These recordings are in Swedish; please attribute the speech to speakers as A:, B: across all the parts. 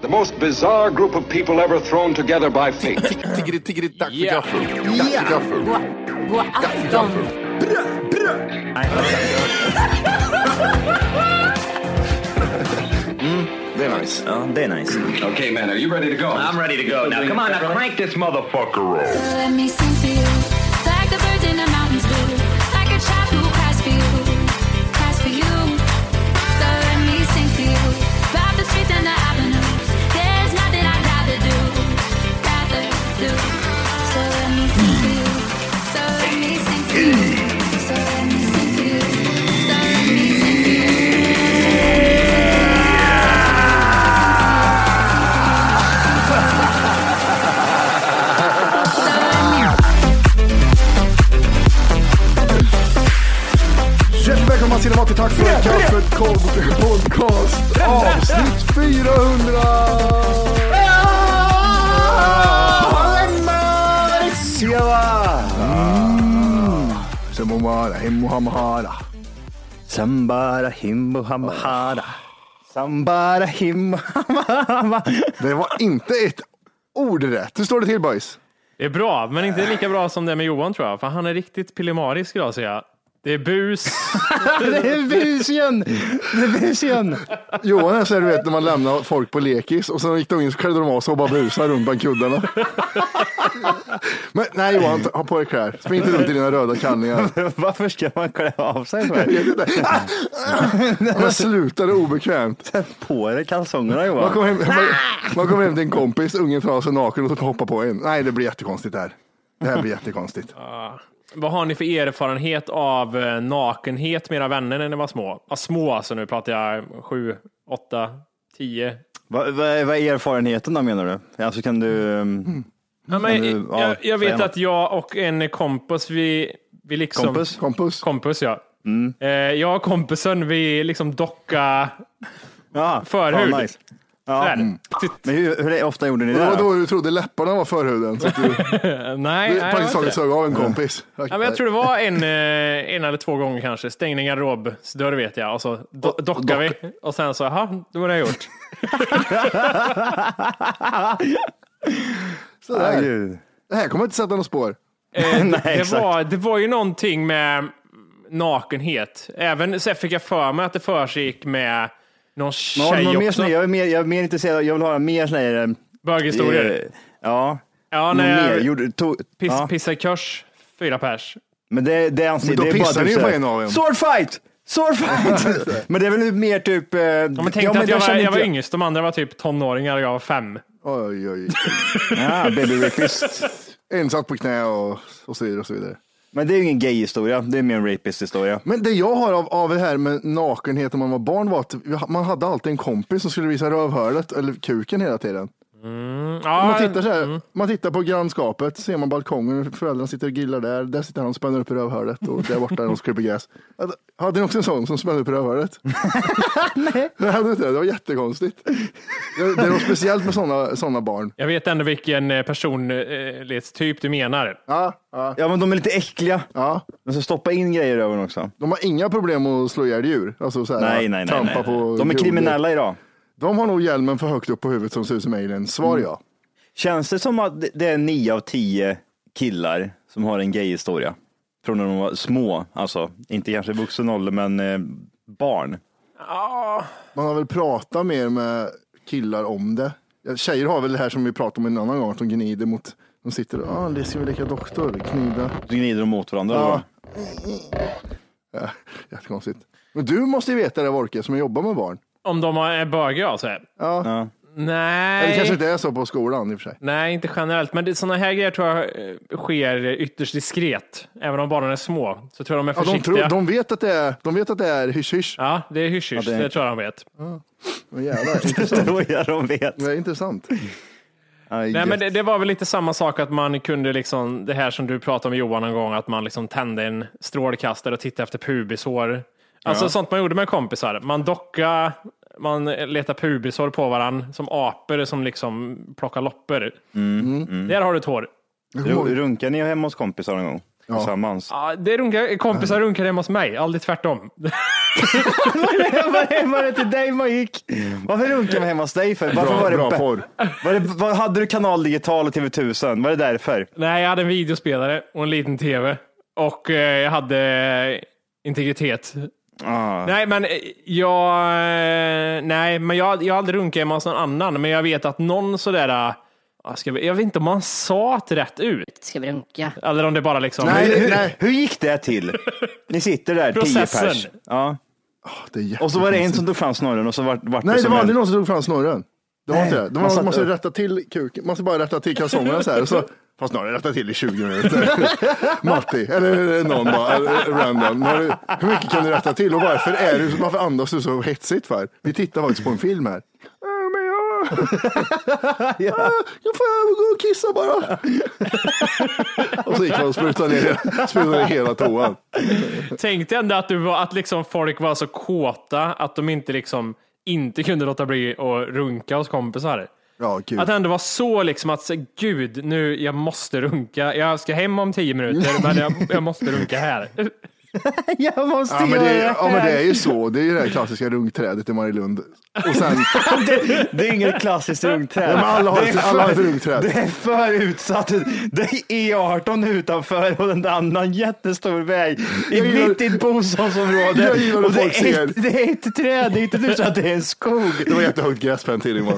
A: The most bizarre group of people ever thrown together by fate.
B: Tiggeri, tiggeri, tack för
C: Ja.
B: gaffel. Tack för gaffel.
D: God afton!
B: Det är nice.
E: Ja, det är Oh, nice.
A: okay, man, are you ready to go?
E: I'm ready to go. Now come on, now crank this motherfucker up.
F: Let me sing for you, like the birds in the mountains do, like a child who cries for you, cries for you. So let me sing for you, drive the streets and the avenues. There's nothing I'd rather do, rather do. So let me sing for you, so let me sing for you, so let me sing for you, so let me sing for you.
B: Hjärtligt välkomna till Matti, tack för kaffet. Kolb- Podcast avsnitt Ah. 400. Mm. Samomara, hemmohamhara.
E: Sambara himbo hamhara. Sambara himbo hamhara.
B: Det var inte ett ord rätt. Hur står det till boys?
C: Det är bra, men inte lika bra som det med Johan tror jag. För han är riktigt pillemarisk idag ser jag. Det är bus.
E: Det är bus igen. Det är bus igen.
B: Johan är så här, du vet när man lämnar folk på lekis och sen gick de in så klädde de av sig och bara busade runt bland kuddarna. Men nej Johan, ta- ha på dig kläder. Spring inte runt i dina röda kallingar.
E: Varför ska man klä av sig?
B: Jag
E: Med?
B: vet inte. Ah! Ah! Men sluta, det är obekvämt.
E: Sätt på dig kalsongerna
B: Man
E: Johan.
B: Ah. kommer, hem, man, man kommer hem till en kompis, ungen tar av sig naken och så hoppar på en. Nej, det blir jättekonstigt det här. Det här blir jättekonstigt.
C: Vad har ni för erfarenhet av eh, nakenhet med era vänner när ni var små? Ja, små alltså, nu pratar jag sju, åtta, tio.
E: Vad vad är vad är erfarenheten då menar du? Alltså kan du... ehm,
C: Ja, men,
E: Men,
C: jag,
E: ja,
C: jag, jag
E: säg
C: vet
E: något.
C: att jag och en kompis, vi, vi liksom...
E: Kompis? Mm.
B: Kompus.
C: Kompis, ja. Eh, jag och kompisen, vi liksom docka
E: Ja,
C: förhud.
E: fan, nice. Ja.
C: där.
E: Mm.
C: Titt-
E: Men hur, hur ofta gjorde ni
B: Det
E: det?
B: var
E: då?
B: då du trodde läpparna var förhuden. Så att du
C: Nej,
B: du
C: nej, jag
B: praktiskt
C: vet inte.
B: taget sög av en kompis.
C: Ja, men jag tror det var en, eh, en eller två gånger kanske. Stängde en garderobsdörr vet jag och så do dockade vi. Och sen så, jaha, då var det gjort.
E: Ja,
B: Sådär.
E: gud.
B: Det här kommer inte sätta några spår.
E: Nej,
C: Eh, Det
E: exakt.
C: var, det var ju någonting med nakenhet. Även så här fick jag för mig att det försiggick med någon
E: Men har du något
C: tjej
E: mer
C: också.
E: sån- jag, är mer, jag är mer intresserad, jag vill höra mer sådana här... ehm,
C: Böghistorier.
E: eh, Ja.
C: Ja,
E: Någon
C: när
E: mer?
C: jag
E: Gjorde, tog,
C: piss,
E: ja.
C: pissade kors, fyra pers.
E: Men det, det anser
B: Men då
E: det är
B: pissar
E: bara
B: ni
E: typ
B: ju på
E: såhär,
B: en av er.
E: Sword fight! Sword fight! men det är väl mer typ... eh,
C: Ja, men tänk dig att jag, var, jag var yngst, de andra var typ tonåringar och jag var fem.
B: Oj, oj, oj.
E: Ja, baby rapist.
B: En satt på knä och, och så vidare. Och så vidare.
E: men det är ju ingen gay-historia, det är mer en rapist-historia.
B: Men det jag har av, av det här med nakenhet när man var barn var att vi ha- man hade alltid en kompis som skulle visa rövhålet eller kuken hela tiden.
C: Ja,
B: Man tittar, så här,
E: mm.
B: man tittar på grannskapet, ser man balkongen, föräldrarna sitter och grillar där, där sitter han och spänner upp i rövhålet och där borta är de som klipper gräs. Hade- Hade ni också en sån som spände upp i rövhålet? Nej. Det hade inte det, det var jättekonstigt. Det, det är något speciellt med sådana såna barn.
C: Jag vet ändå vilken eh, personlighetstyp du menar.
B: Ja, ja,
E: Ja, men de är lite äckliga.
B: ja.
E: De ska stoppa in grejer i ögonen också.
B: De har inga problem att slå ihjäl djur. Alltså, så här,
E: Nej, nej, nej.
B: trampa
E: nej.
B: På
E: De är
B: groddjur.
E: kriminella idag.
B: De har nog hjälmen för högt upp på huvudet som ser ut som alien.
E: Mm.
B: Svar ja.
E: Känns det som att det- det är nio av tio killar som har en gay-historia? Från när de var små, alltså. Inte kanske vuxen ålder, men eh, barn.
C: Ja,
B: Man har väl pratat mer med killar om det. Ja, Tjejer har väl det här som vi pratade om en annan gång, att de gnider mot... De sitter och, ah, det ska vi leka doktor, knida.
E: Så gnider de mot varandra.
B: Ja.
E: Ja.
B: Ja, Äh, jättekonstigt. Men du måste ju veta det Wolke, som jobbar med barn.
C: om de har- är bögiga alltså?
E: Ja.
C: Nej.
B: Eller kanske inte är så på skolan i och för sig.
C: Nej, inte generellt, men sådana här grejer tror jag eh, sker ytterst diskret. Även om barnen är små så tror jag de är
B: Ja, de, tror,
C: försiktiga.
B: de, vet att det är, de vet att det är hysch-hysch.
C: Ja, det är hysch, hysch
E: Ja,
C: det...
E: det är-
C: tror jag de vet.
B: Men jävlar,
E: Det
B: intressant.
E: tror jag de vet.
B: Det är intressant.
E: Nej,
C: Nej, men det, det var väl lite samma sak att man kunde, liksom, det här som du pratade om Johan en gång, att man liksom tände en strålkastare och tittade efter pubisår. Alltså sånt man gjorde med kompisar. Man docka, man letar pubisår på varandra som apor som liksom plockar loppor.
E: Mm,
B: Mm.
C: Där har du ett hår.
E: Ru- Runkar ni hemma hos kompisar någon gång? Tillsammans?
C: Ja, det runkar, kompisar runkar hemma hos mig, aldrig tvärtom.
E: var det hemma det till dig man gick? Varför runkade man hemma hos dig? För? Varför
B: Bra,
E: var det
B: bra
E: bä-
B: porr.
E: Var det, var, hade du kanal digital och TV1000? Var det därför?
C: Nej, jag hade en videospelare och en liten tv. Och eh, jag hade eh, integritet.
E: Ah.
C: Nej, men eh, jag... eh, Nej, men jag, jag har aldrig runkat hemma hos någon annan. Men jag vet att någon sådär... eh, ah, Ska vi, jag vet inte om man sa det rätt ut.
F: Ska vi runka?
C: Eller om det bara liksom...
B: Nej,
E: hur,
B: nej.
E: hur gick det till? Ni sitter där, tio
C: Processen.
E: pers. Ja.
B: Det är jätte-
E: Och så var det en som tog fram snorren och så vart, vart
B: Nej, det
E: som
B: var
E: en-
B: aldrig någon som drog fram snorren. Det var
E: Nej,
B: inte det. De
E: man
B: man
E: satt-
B: måste rätta till kuken, man måste bara rätta till kalsongerna så här. Och så, fast snarare rätta till i 20 minuter. Matti, eller någon bara, eller random. Har du- Hur mycket kan du rätta till och varför, är du, varför andas du så hetsigt för? Vi tittar faktiskt på en film här. Äh, men jag- Ah, Jag får gå och kissa bara. och så gick man och sprutade ner, sprutade ner hela toan.
C: Tänk dig ändå att, du var, att liksom folk var så kåta att de inte liksom inte kunde låta bli att runka hos kompisar.
B: Ja, gud.
C: Att det ändå var så liksom att, så, gud, nu, jag måste runka. Jag ska hem om tio minuter, men jag, jag måste runka här.
E: Jag måste
B: Ja men, det är,
E: göra
B: ja men det är ju så, det är ju det här klassiska runkträdet i Marielund. Och sen,
E: det, det är inget klassiskt rungträd.
B: Ja, men alla har
E: Det är
B: ett- alla har ett
E: för-
B: rungträd.
E: Det är för utsatt. Det är E18 utanför och en annan jättestor väg. I
B: Jag gillar-
E: mitt i ett bostadsområde.
B: Jag gillar hur
E: och det,
B: folk
E: är
B: ser.
E: ett, det är ett träd, det är inte så att det är en skog.
B: det var jättehögt gräs på en tidning var.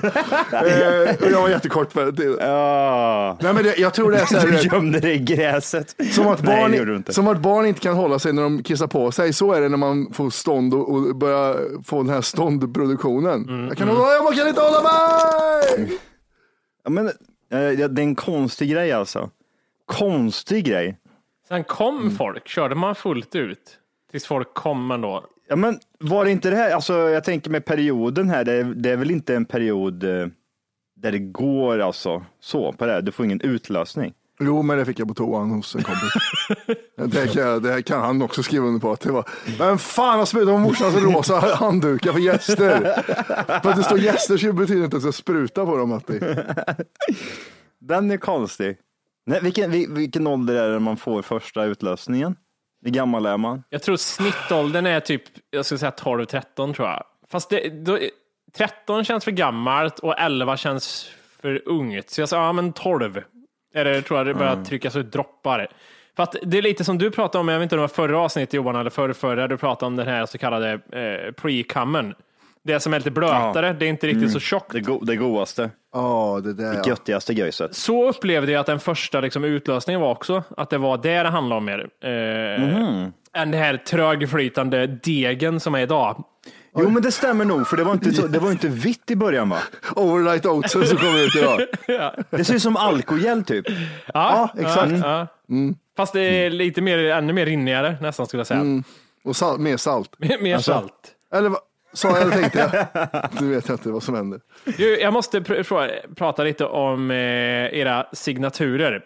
B: Eh, och jag var jättekort på en tidning.
E: Ja.
B: Nej men det, jag tror det är så här, du
E: Ah. Du
B: vet,
E: gömde dig i gräset.
B: som, att barn,
E: Nej, det gjorde du inte.
B: som att barn inte kan hålla sig när de kissar på sig, så är det när man får stånd och, och börjar få den här ståndproduktionen. jag, kan hålla, jag kan inte hålla mig!
E: Ja, men, eh, ja, det är en konstig grej alltså. Konstig grej.
C: Sen kom folk, körde man fullt ut? Tills folk kom ändå.
E: Ja, men var det inte det här, alltså jag tänker med perioden här, det är, det är väl inte en period eh, där det går alltså så på det här, du får ingen utlösning.
B: Jo men det fick jag på toan hos en kompis. Det kan, jag- det här kan han också skriva under på. Att det var, men fan har sprutat på morsans rosa handdukar för gäster? För att det står gäster så betyder det inte att jag ska spruta på dem Matti.
E: Den är konstig. Nej, vilken, vil- vilken ålder är det man får första utlösningen? Hur gammal är man?
C: Jag tror snittåldern är typ, jag skulle säga 12-13 tror jag. Fast det, då, 13 känns för gammalt och 11 känns för ungt. Så jag sa, ja men 12 är det, tror jag det börjar tryckas ut droppar. För att det är lite som du pratade om, jag vet inte om det var förra avsnittet Johan, eller förra, förra, du pratade om den här så kallade eh, pre-cummen. Det som är lite blötare, det är inte riktigt så tjockt.
E: Det, go, det godaste,
B: Ja, det där ja.
E: göttigaste göjset.
C: Så upplevde jag att den första liksom, utlösningen var också, att det var det det handlade om mer. Eh, Än den här trögflytande degen som är idag.
E: Jo men det stämmer nog, för det var inte, så, det var inte vitt i början va?
B: Overnight oatsen som kommer ut idag.
E: Det ser ut som alkogel typ.
C: Ja,
B: exakt. Mm.
C: ja, ja. Fast det är lite mer, ännu mer rinnigare nästan skulle jag säga.
B: Mm. Och sal- mer salt.
C: mer
B: Alltså.
C: salt.
B: Eller vad- sa jag eller tänkte jag? Nu vet jag inte vad som händer.
C: Du, jag måste pr- fråga- prata lite om eh, era signaturer.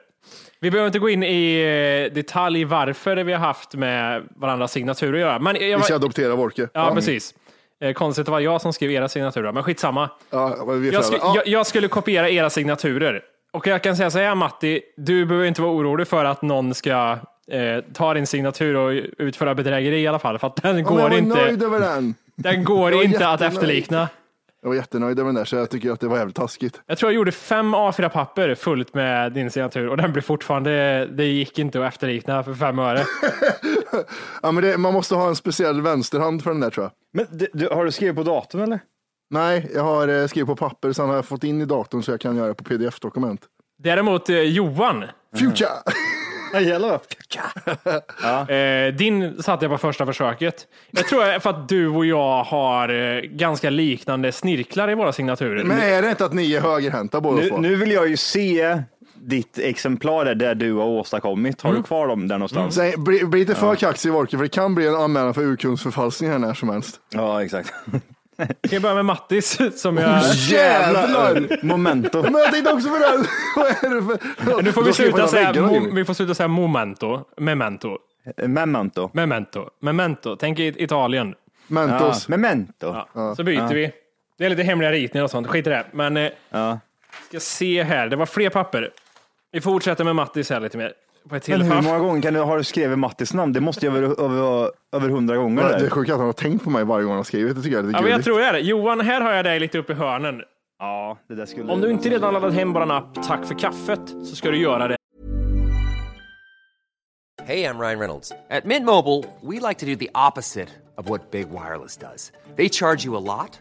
C: Vi behöver inte gå in i eh, detalj varför vi har haft med varandras signaturer att göra. Men jag
B: Vi ska
C: var,
B: adoptera Wolke.
C: ja, precis. Eh, konstigt att det var jag som skrev era signaturer, men skitsamma.
B: Ja, men vi är
C: Jag, sku,
B: föräldrar. ja.
C: jag, jag skulle kopiera era signaturer. Och jag kan säga så här Matti, du behöver inte vara orolig för att någon ska eh, ta din signatur och utföra bedrägeri i alla fall. För att den
B: Ja, men jag
C: går
B: var nöjd
C: inte,
B: över den.
C: den går
B: Jag var
C: inte att
B: jättenöjd.
C: efterlikna.
B: Jag var jättenöjd över den där så jag tycker att det var jävligt taskigt.
C: Jag tror jag gjorde fem A4-papper fullt med din signatur och den blir fortfarande, det gick inte att efterlikna för fem öre.
B: ja, men det, man måste ha en speciell vänsterhand för den där tror jag.
E: Men du, du, har du skrivit på datorn eller?
B: Nej, jag har eh, skrivit på papper, sen har jag fått in i datorn så jag kan göra det på pdf-dokument.
E: Mm.
C: Däremot eh, Johan,
B: Future!
E: Nej, jävlar.
C: eh, din satte jag på första försöket. Jag tror att- för att du och jag har eh, ganska liknande snirklar i våra signaturer.
B: Men är det inte att ni är högerhänta båda
E: Nu,
B: två?
E: nu vill jag ju se ditt exemplar där, där du har åstadkommit. Har du kvar dem där någonstans?
B: Säg, bli, bli inte för kaxig Wolke, för det kan bli en anmälan för urkundsförfalskning här när som helst.
E: Ja, exakt.
C: Vi kan börja med Mattis som jag...
E: eh,
B: Jävlar!
E: Momento.
B: Men jag tänkte också på det här. Vad är det för...
C: Nu får vi
B: Då skriver
C: sluta
B: man
C: säga,
B: väggarna,
C: mo-
B: Jimmy.
C: vi får sluta säga momento, memento,
E: Memento.
C: memento, memento. Tänk i Italien.
E: Ja,
B: Mentos.
E: memento.
C: Så byter vi. Det är lite hemliga ritningar och sånt, skit i det. Men eh, ska se här, det var fler papper. Vi fortsätter med Mattis här lite mer. På ett till
E: Men hur
C: papp.
E: många gånger kan du, har du skrivit Mattis namn? Det måste ju över, över, över hundra gånger.
B: Men Det
E: där.
B: är sjukt att han har tänkt på mig varje gång han har skrivit. Det tycker jag är lite
C: Ja, men jag
B: gulligt.
C: tror det är det. Johan, här har jag dig lite uppe i hörnen.
E: Ja, det där skulle...
C: Om du inte redan laddat hem bara en app Tack för kaffet så ska du göra det
G: Hey, I'm Ryan Reynolds. At Mint Mobile, we like to do the opposite of what Big Wireless does. They charge you a lot,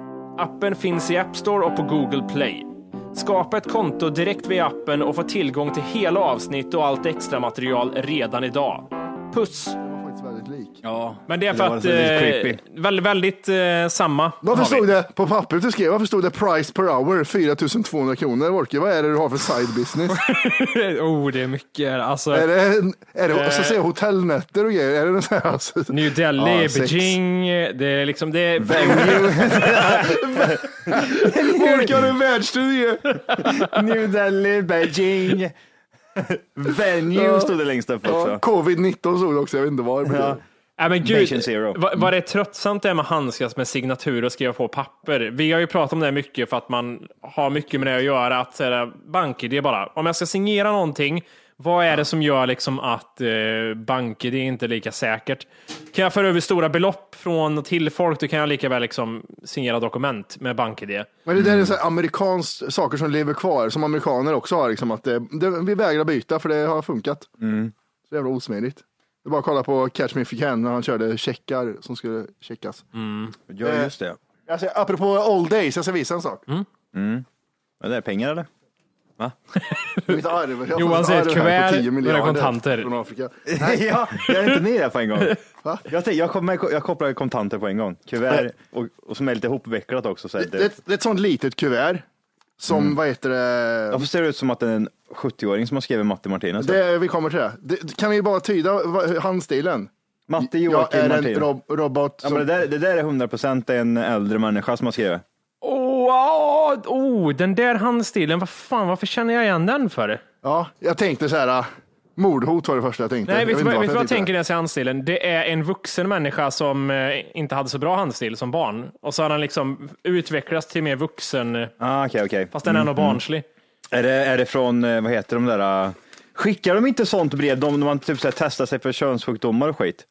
C: Appen finns i App Store och på Google Play. Skapa ett konto direkt via appen och få tillgång till hela avsnitt och allt extra material redan idag. Puss!
B: Han var faktiskt väldigt lik.
E: Ja.
C: Men det är för
E: Det var
C: att...
E: så lite
C: Eh,
E: creepy.
C: väldigt, väldigt eh, samma.
B: Varför
C: har vi.
B: stod det på pappret du skrev, varför stod det price per hour 4200 kronor? Wolke, vad är det du har för side business?
C: oh, det är mycket. här. Alltså,
B: är det, är det och så säger jag, hotellnätter och grejer? Är det något sånt här? Alltså,
C: New Delhi,
B: Ja, sex.
C: Beijing, det är liksom... Det är,
E: Orkar du världsturné? New Delhi, Beijing. Venue stod det längst upp
B: Ja,
E: också.
B: Covid-19 stod det också, jag vet inte var.
E: Ja.
C: Nej, Äh, men
E: Nation
C: gud,
E: Zero.
C: vad, vad det är tröttsamt det är med att handskas med signaturer och skriva på papper. Vi har ju pratat om det här mycket för att man har mycket med det att göra. Att så här, BankID bara, om jag ska signera någonting, vad är det som gör liksom att eh, BankID inte är lika säkert? Kan jag föra över stora belopp från och till folk, då kan jag lika väl liksom signera dokument med BankID.
B: Men det där är så här amerikanskt, saker som lever kvar, som amerikaner också har. Liksom, att det, det, vi vägrar byta för det har funkat. Så jävla osmidigt. Det är bara att kolla på Catch Me If You Can när han körde checkar som skulle checkas.
E: Ja, just det.
B: Alltså, apropå old days, jag ska visa en sak.
E: Men det är pengar eller?
B: Mitt arv. Jag har
C: Johan
B: fått ett
C: säger ett
B: arv här på
C: kuvert
B: 10
C: med
B: miljarder
C: kontanter.
B: Från Afrika.
E: ja, jag är inte ner där på en gång. Jag, tänkte, jag, kom med, jag kopplade kontanter på en gång. Kuvert och, och som är lite hopvecklat också. Så här,
B: Det, det,
E: det,
B: det är ett sånt litet kuvert som, vad heter det?
E: varför ser det ut som att det är en 70-åring som har skrivit Matte Martinez?
B: det vi kommer till det. det. Kan vi bara tyda vad- handstilen?
E: Matte
B: Jag
E: Joakim
B: är en
E: Martinez.
B: rob robot.
E: Ja,
B: Som,
E: men det, där, det där är 100 procent en äldre människa som har skrivit.
C: Åh, åh, åh, den där handstilen, vad fan, varför känner jag igen den för?
B: ja, jag tänkte så här, ah, mordhot var det första jag tänkte.
C: Nej, vet du
B: inte
C: vad
B: varför
C: vet du vad jag
B: tänkte
C: tänker när jag ser handstilen? Det är en vuxen människa som eh, inte hade så bra handstil som barn. Och så har den liksom utvecklats till mer vuxen, eh,
E: Ah, okej, okej.
C: fast den är ändå barnslig.
E: Är det, är det från, eh, vad heter de där, eh, skickar de inte sånt brev de, när man typ så här, testar sig för könssjukdomar och skit?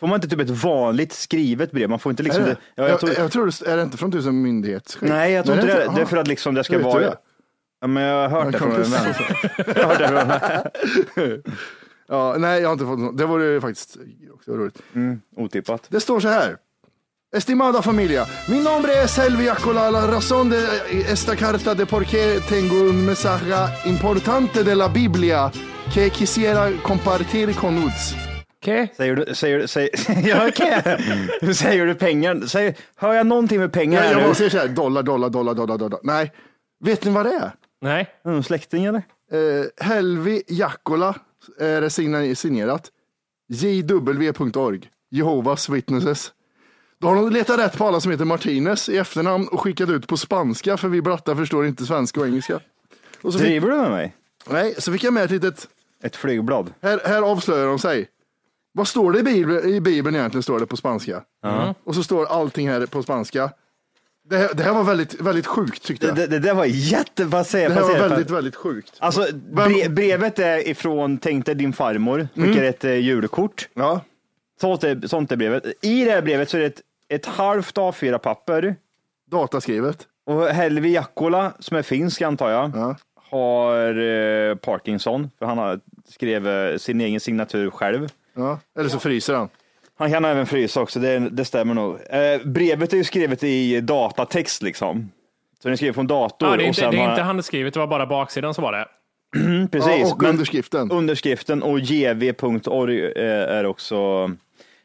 E: Får man inte typ ett vanligt skrivet brev? Man får inte liksom
B: Är
E: det?
B: det? eh,
E: ja, jag tror,
B: jag, tror, det- är det inte från tusen myndighetschef?
E: nej, jag tror inte det. Det är för att liksom det ska
B: Hur vet du
E: vara.
B: det?
E: Ja, men jag har hört det från en vän. Jag har hört det från en vän.
B: Ja, nej, jag har inte fått något. Det vore ju faktiskt också roligt.
E: Otippat.
B: Det står så här. Estimada familia, mi nombre es Elvia Colala, razón de esta carta de por qué tengo un mensaje importante de la Biblia que quisiera compartir con ustedes.
C: Okej.
E: Säger du, säger, säger, ja, okej. säger du pengar? Säger, hör jag någonting med pengar
B: Mm. Jag,
E: här
B: jag
E: nu?
B: bara säger så här, dollar, dollar, dollar, dollar, dollar. Nej, vet ni vad det är?
C: Nej.
E: Mm, släkting eller?
B: Eh, Helvi Jackola är det signa- signerat. jw.org, Jehovas Witnesses. Då har de letat rätt på alla som heter Martinez i efternamn och skickat ut på spanska för vi brattar förstår inte svenska och engelska. Och så fick,
E: Driver du med mig?
B: nej, så fick jag med ett litet,
E: Ett flygblad?
B: här, här avslöjar de sig. Vad står det i Bibeln, i Bibeln egentligen? Står det på spanska. Och så står allting här på spanska. Det här, det här var väldigt, väldigt sjukt tyckte
E: Det,
B: jag.
E: det, det där var jättepasserat.
B: Det här var väldigt, väldigt sjukt.
E: Alltså, bre, brevet är ifrån, tänk dig din farmor, skickar ett eh, julkort.
B: Mm. Ja.
E: Sånt är, sånt är brevet. I det här brevet så är det ett, ett halvt A4-papper
B: Dataskrivet.
E: och Helvi Jackola, som är finsk antar jag,
B: Ja.
E: har eh, Parkinson, för han har, skrev eh, sin egen signatur själv.
B: Ja. Eller så fryser han.
E: Han kan även frysa också, det, det stämmer nog. Eh, brevet är ju skrivet i datatext liksom. Så den är skriven från dator.
C: Ja, det är
E: och
C: inte,
E: sen
C: det
E: har-
C: är inte handskrivit, det var bara baksidan som var det.
E: Precis,
B: Ja, och
E: men
B: underskriften.
E: underskriften och jv.org eh, är också...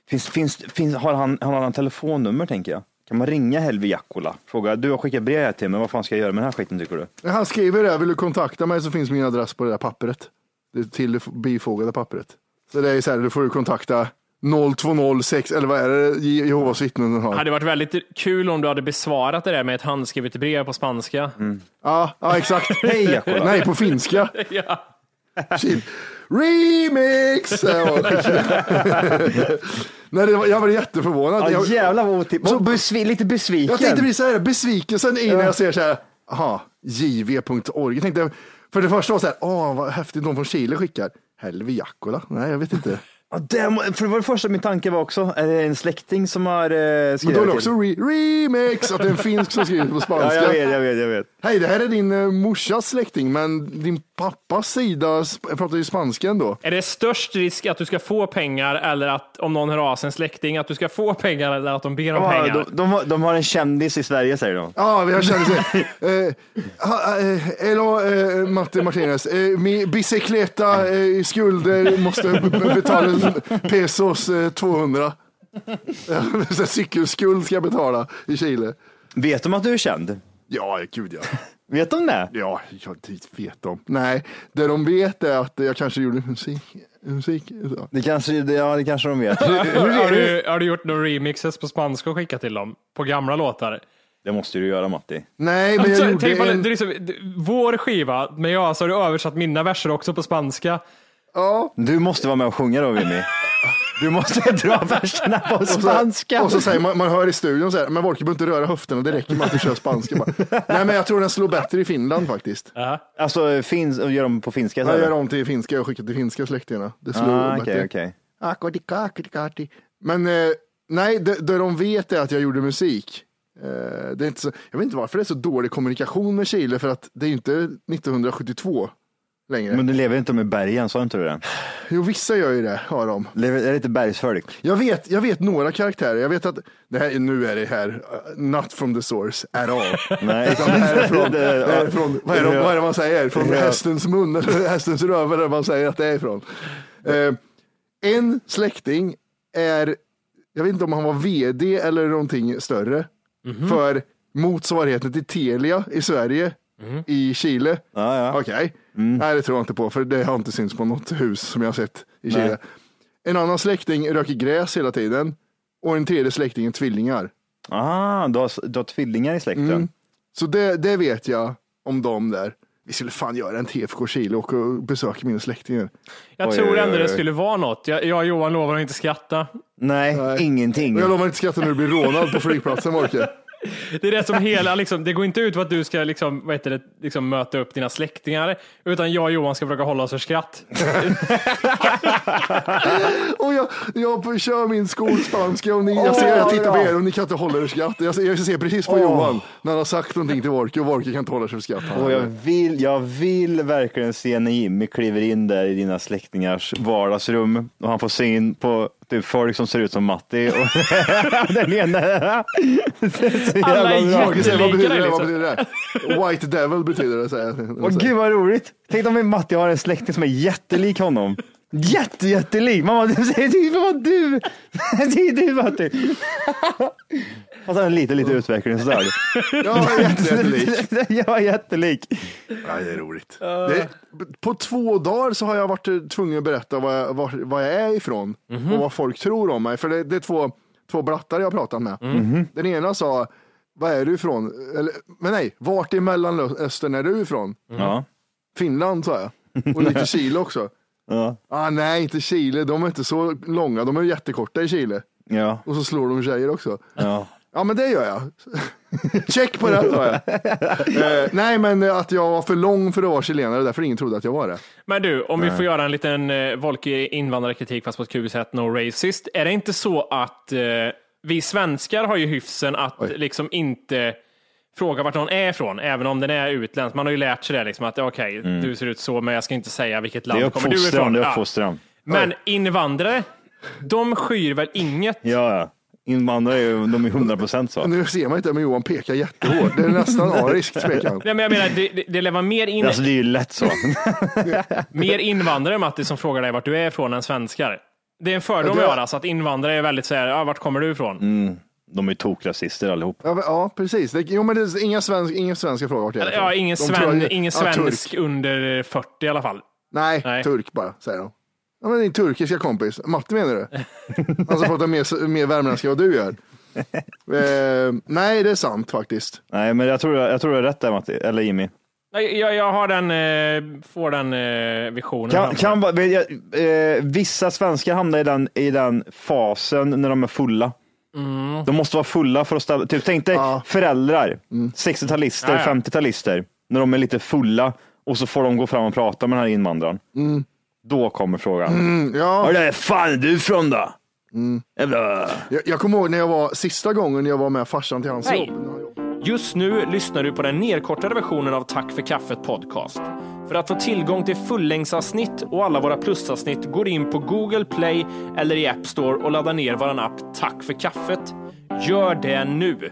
E: Finns, finns, finns, har han har han en telefonnummer tänker jag? Kan man ringa Helvi Jackola? Fråga, du har skickat brev här till mig, vad fan ska jag göra med den här skiten tycker du?
B: När han skriver det, här, vill du kontakta mig så finns min adress på det där pappret. Det är till det bifogade pappret. Så det är så här, då får du kontakta 0206, eller vad är det Je- Jehovas vittnen
C: Det
B: har?
C: hade varit väldigt kul om du hade besvarat det där med ett handskrivet brev på spanska.
B: Ja, ja exakt.
E: Hej Jackola!
B: Nej, på finska.
C: Ja.
B: Shit. Remix! Ja. Nej, det var, jag var jätteförvånad.
E: Ja,
B: Jag,
E: jävlar vad otippat.
B: Så-
E: Och besvi- Lite besviken.
B: jag tänkte bli så här, besvikelsen i när jag ser så här, aha, jv.org. Jag tänkte, för det första var så här, åh vad häftigt, någon från Chile skickar. Helvi Jackola? Nej, jag vet inte.
E: Ja, det, må- för det var det första min tanke var också, är det en släkting som har eh,
B: Men
E: skrivit
B: då är det
E: till?
B: också re remix, att det är en finsk som skriver på
E: Ja,
B: spanska.
E: jag vet, jag vet, jag vet.
B: Hej, det här är din eh, morsas släkting, men din pappas sida sp- pratar ju spanska ändå.
C: Är det störst risk att du ska få pengar eller att om någon hör av sig en släkting att du ska få pengar eller att de ber om
E: Ja,
C: pengar?
E: de, de, har- de har en kändis i Sverige säger de.
B: Ja, vi har känt det. Hello, eh, Matte Martinez. Eh, mi bicicleta eh, skulder måste b- b- betala pesos eh, 200. Ja, så här Cykelskuld ska jag betala i Chile.
E: Vet de att du är känd?
B: Ja, gud ja.
E: Vet de det?
B: Ja, jag vet de. Nej, det de vet är att jag kanske gjorde musik. musik ja.
E: Det kanske, det- ja, det kanske de vet.
C: har, du, har du gjort några remixes på spanska och skickat till dem? På gamla låtar?
E: Det måste du göra Matti.
B: Nej, men jag
C: Så, Alltså, tänk
B: gjorde
C: vad-
B: en...
C: det är liksom, det- vår skiva, men jag alltså, har du översatt mina verser också på spanska.
E: Du måste vara med och sjunga då Vinny. Du måste dra verserna på
B: och så-
E: spanska.
B: Och så säger man, man hör i studion så här, men Wolke behöver inte röra höfterna, det räcker med att du kör spanska. Bara. Nej, men jag tror den slår bättre i Finland faktiskt.
E: Alltså finns, och gör dem på finska? så
B: Jag
E: här.
B: gör om till finska, jag skickar till finska släktingarna. Det slår
E: Ah,
B: bättre.
E: Okej, okej.
B: Akadika, akadika, akadika. Men eh, nej, det, det de vet är att jag gjorde musik. Eh, det är inte så, jag vet inte varför det är så dålig kommunikation med Chile, för att det är ju inte 1972 längre.
E: Men du lever inte med bergen, sa inte du det?
B: Jo, vissa gör ju det, har de.
E: Lever, är det inte bergsfolk?
B: Jag vet, jag vet några karaktärer. Jag vet att det här, nu är det här, uh, not from the source at all.
E: Nej.
B: Utan det här är från,
E: Det-
B: det här är från vad, är det, vad är det man säger? Från
E: Ja.
B: hästens mun eller hästens röv eller vad man säger att det är ifrån. Eh, en släkting är, jag vet inte om han var vd eller någonting större,
E: Mhm.
B: för motsvarigheten till Telia i Sverige, i Chile.
E: Mhm. Ja, ja. Mm.
B: Okej, nej det tror jag inte på, för det har inte synts på något hus som jag har sett i Chile.
E: Nej.
B: En annan släkting röker gräs hela tiden och en tredje släkting är tvillingar.
E: Ah, du har, du har tvillingar i släkten.
B: Mm. Så det, det vet jag om dem där. Vi skulle fan göra en TFK Chile och och besöka mina släktingar.
C: Jag
E: Oj,
C: tror
E: oj,
C: ändå
E: oj,
C: det
E: oj.
C: skulle vara något. Jag, jag och Johan lovar att inte skratta.
E: Nej, ingenting.
B: Och jag lovar inte skratta när du blir rånad på flygplatsen, Morke.
C: Det är det som hela, liksom, det går inte ut på att du ska liksom, vad heter det, liksom, möta upp dina släktingar, utan jag och Johan ska försöka hålla oss för skratt.
B: Och jag, jag kör min skolspanska och ni, jag ser jag tittar på er och ni kan inte hålla er skratt. Jag, ser- jag ser precis på Johan när han har sagt någonting till Wolke och Wolke kan inte hålla sig för skratt.
E: Och jag, vill, jag vill verkligen se när Jimmy kliver in där i dina släktingars vardagsrum och han får syn på typ folk som ser ut som Matti. Och den ena. Det är så
C: Alla är
E: jävla bra.
B: Wolke säger, vad betyder det?
C: liksom.
B: Vad betyder det? White devil betyder det, säger jag.
E: Åh gud vad roligt. Tänk om Matti har en släkting som är jättelik honom. Jätte, jättelik. Mamma, du säger det är vad du. Det är du Matti. Fast han är lite, lite utvecklingsstörd.
B: Ja, jättelik.
E: Jag är jättelik.
B: Ja, det är roligt. Det, på två dagar så har jag varit eh, tvungen att berätta vad jag, var, vad jag är ifrån och vad folk tror om mig. För det, det är två, två brattar jag har pratat med. Den ena sa, vad är du ifrån? Eller, men nej, vart i Mellanöstern är du ifrån?
C: Mm.
E: Ja.
B: Finland sa jag. Och lite Chile också.
E: Ja.
B: Ah, nej, inte Chile. De är inte så långa. De är ju jättekorta i Chile.
E: Ja.
B: Och så slår de tjejer också.
E: Ja.
B: Ja, men det gör jag. Check på det, sa jag. eh, nej, men att jag var för lång för att vara chilenare, därför ingen trodde att jag var det.
C: Men du, om vi får göra en liten eh, volkig invandrarkritik fast på ett kul sätt, no racist. Är det inte så att eh, vi svenskar har ju hyfsen att liksom inte fråga vart någon är ifrån, även om den är utländsk. Man har ju lärt sig det, liksom, att okej, du ser ut så, men jag ska inte säga vilket
E: Mm. Det är
C: land kommer du
E: uppfostran,
C: ifrån.
E: det är
C: Ja.
E: uppfostran.
C: Men invandrare, de skyr väl inget?
E: Ja, ja. Invandrare är ju, de är 100 procent så.
B: Nu ser man inte, men Johan pekar jättehårt. Det är nästan ariskt, pekar han.
C: Nej, men jag menar, det, det, det lär vara mer, in,
E: Alltså det är ju lätt så.
C: mer invandrare, Matti, som frågar dig vart du är ifrån än svenskar. Det är en fördom
B: Ja,
C: jag
B: det-
C: har, alltså, att invandrare är väldigt så här, ah, vart kommer du ifrån?
E: De är ju tokrasister allihop.
B: Ja, men- ja precis. Det, jo, men det är inga, svensk, inga svenska frågor. vart jag är
C: Ja,
B: ifrån.
C: ingen,
B: De tror
C: sven,
B: jag-
C: ingen
B: Ja, turk.
C: svensk under 40 i alla fall.
B: Nej,
C: Nej.
B: turk bara, säger de. Ja, men din turkiska kompis. Matte menar du? Han som pratar mer, mer värmländska än vad du gör. Eh, nej, det är sant faktiskt.
E: Nej, men jag tror, jag tror du har rätt där Matti, eller Jimmy.
C: Nej, Jag, jag har den, eh, får den eh, visionen.
E: Kan,
C: framför
E: kan,
C: mig.
E: vara- vill jag, eh, vissa svenskar hamnar i den, i den fasen när de är fulla. De måste vara fulla för att ställa... Typ, tänk dig
B: Mm. Ja. Mm.
E: föräldrar, 60-talister,
C: Ja, ja.
E: 50-talister, när de är lite fulla och så får de gå fram och prata med den här invandraren. Då kommer frågan.
B: Mm, ja. Mm.
E: Var är fan är du från då? Jävla...
B: Jag, jag kommer ihåg när jag var sista gången jag var med farsan till hans
C: Nej.
B: jobb.
C: Just nu lyssnar du på den nedkortade versionen av Tack för kaffet podcast. För att få tillgång till fullängdsavsnitt och alla våra plusavsnitt går in på Google Play eller i App Store och laddar ner vår app Tack för kaffet. Gör det nu!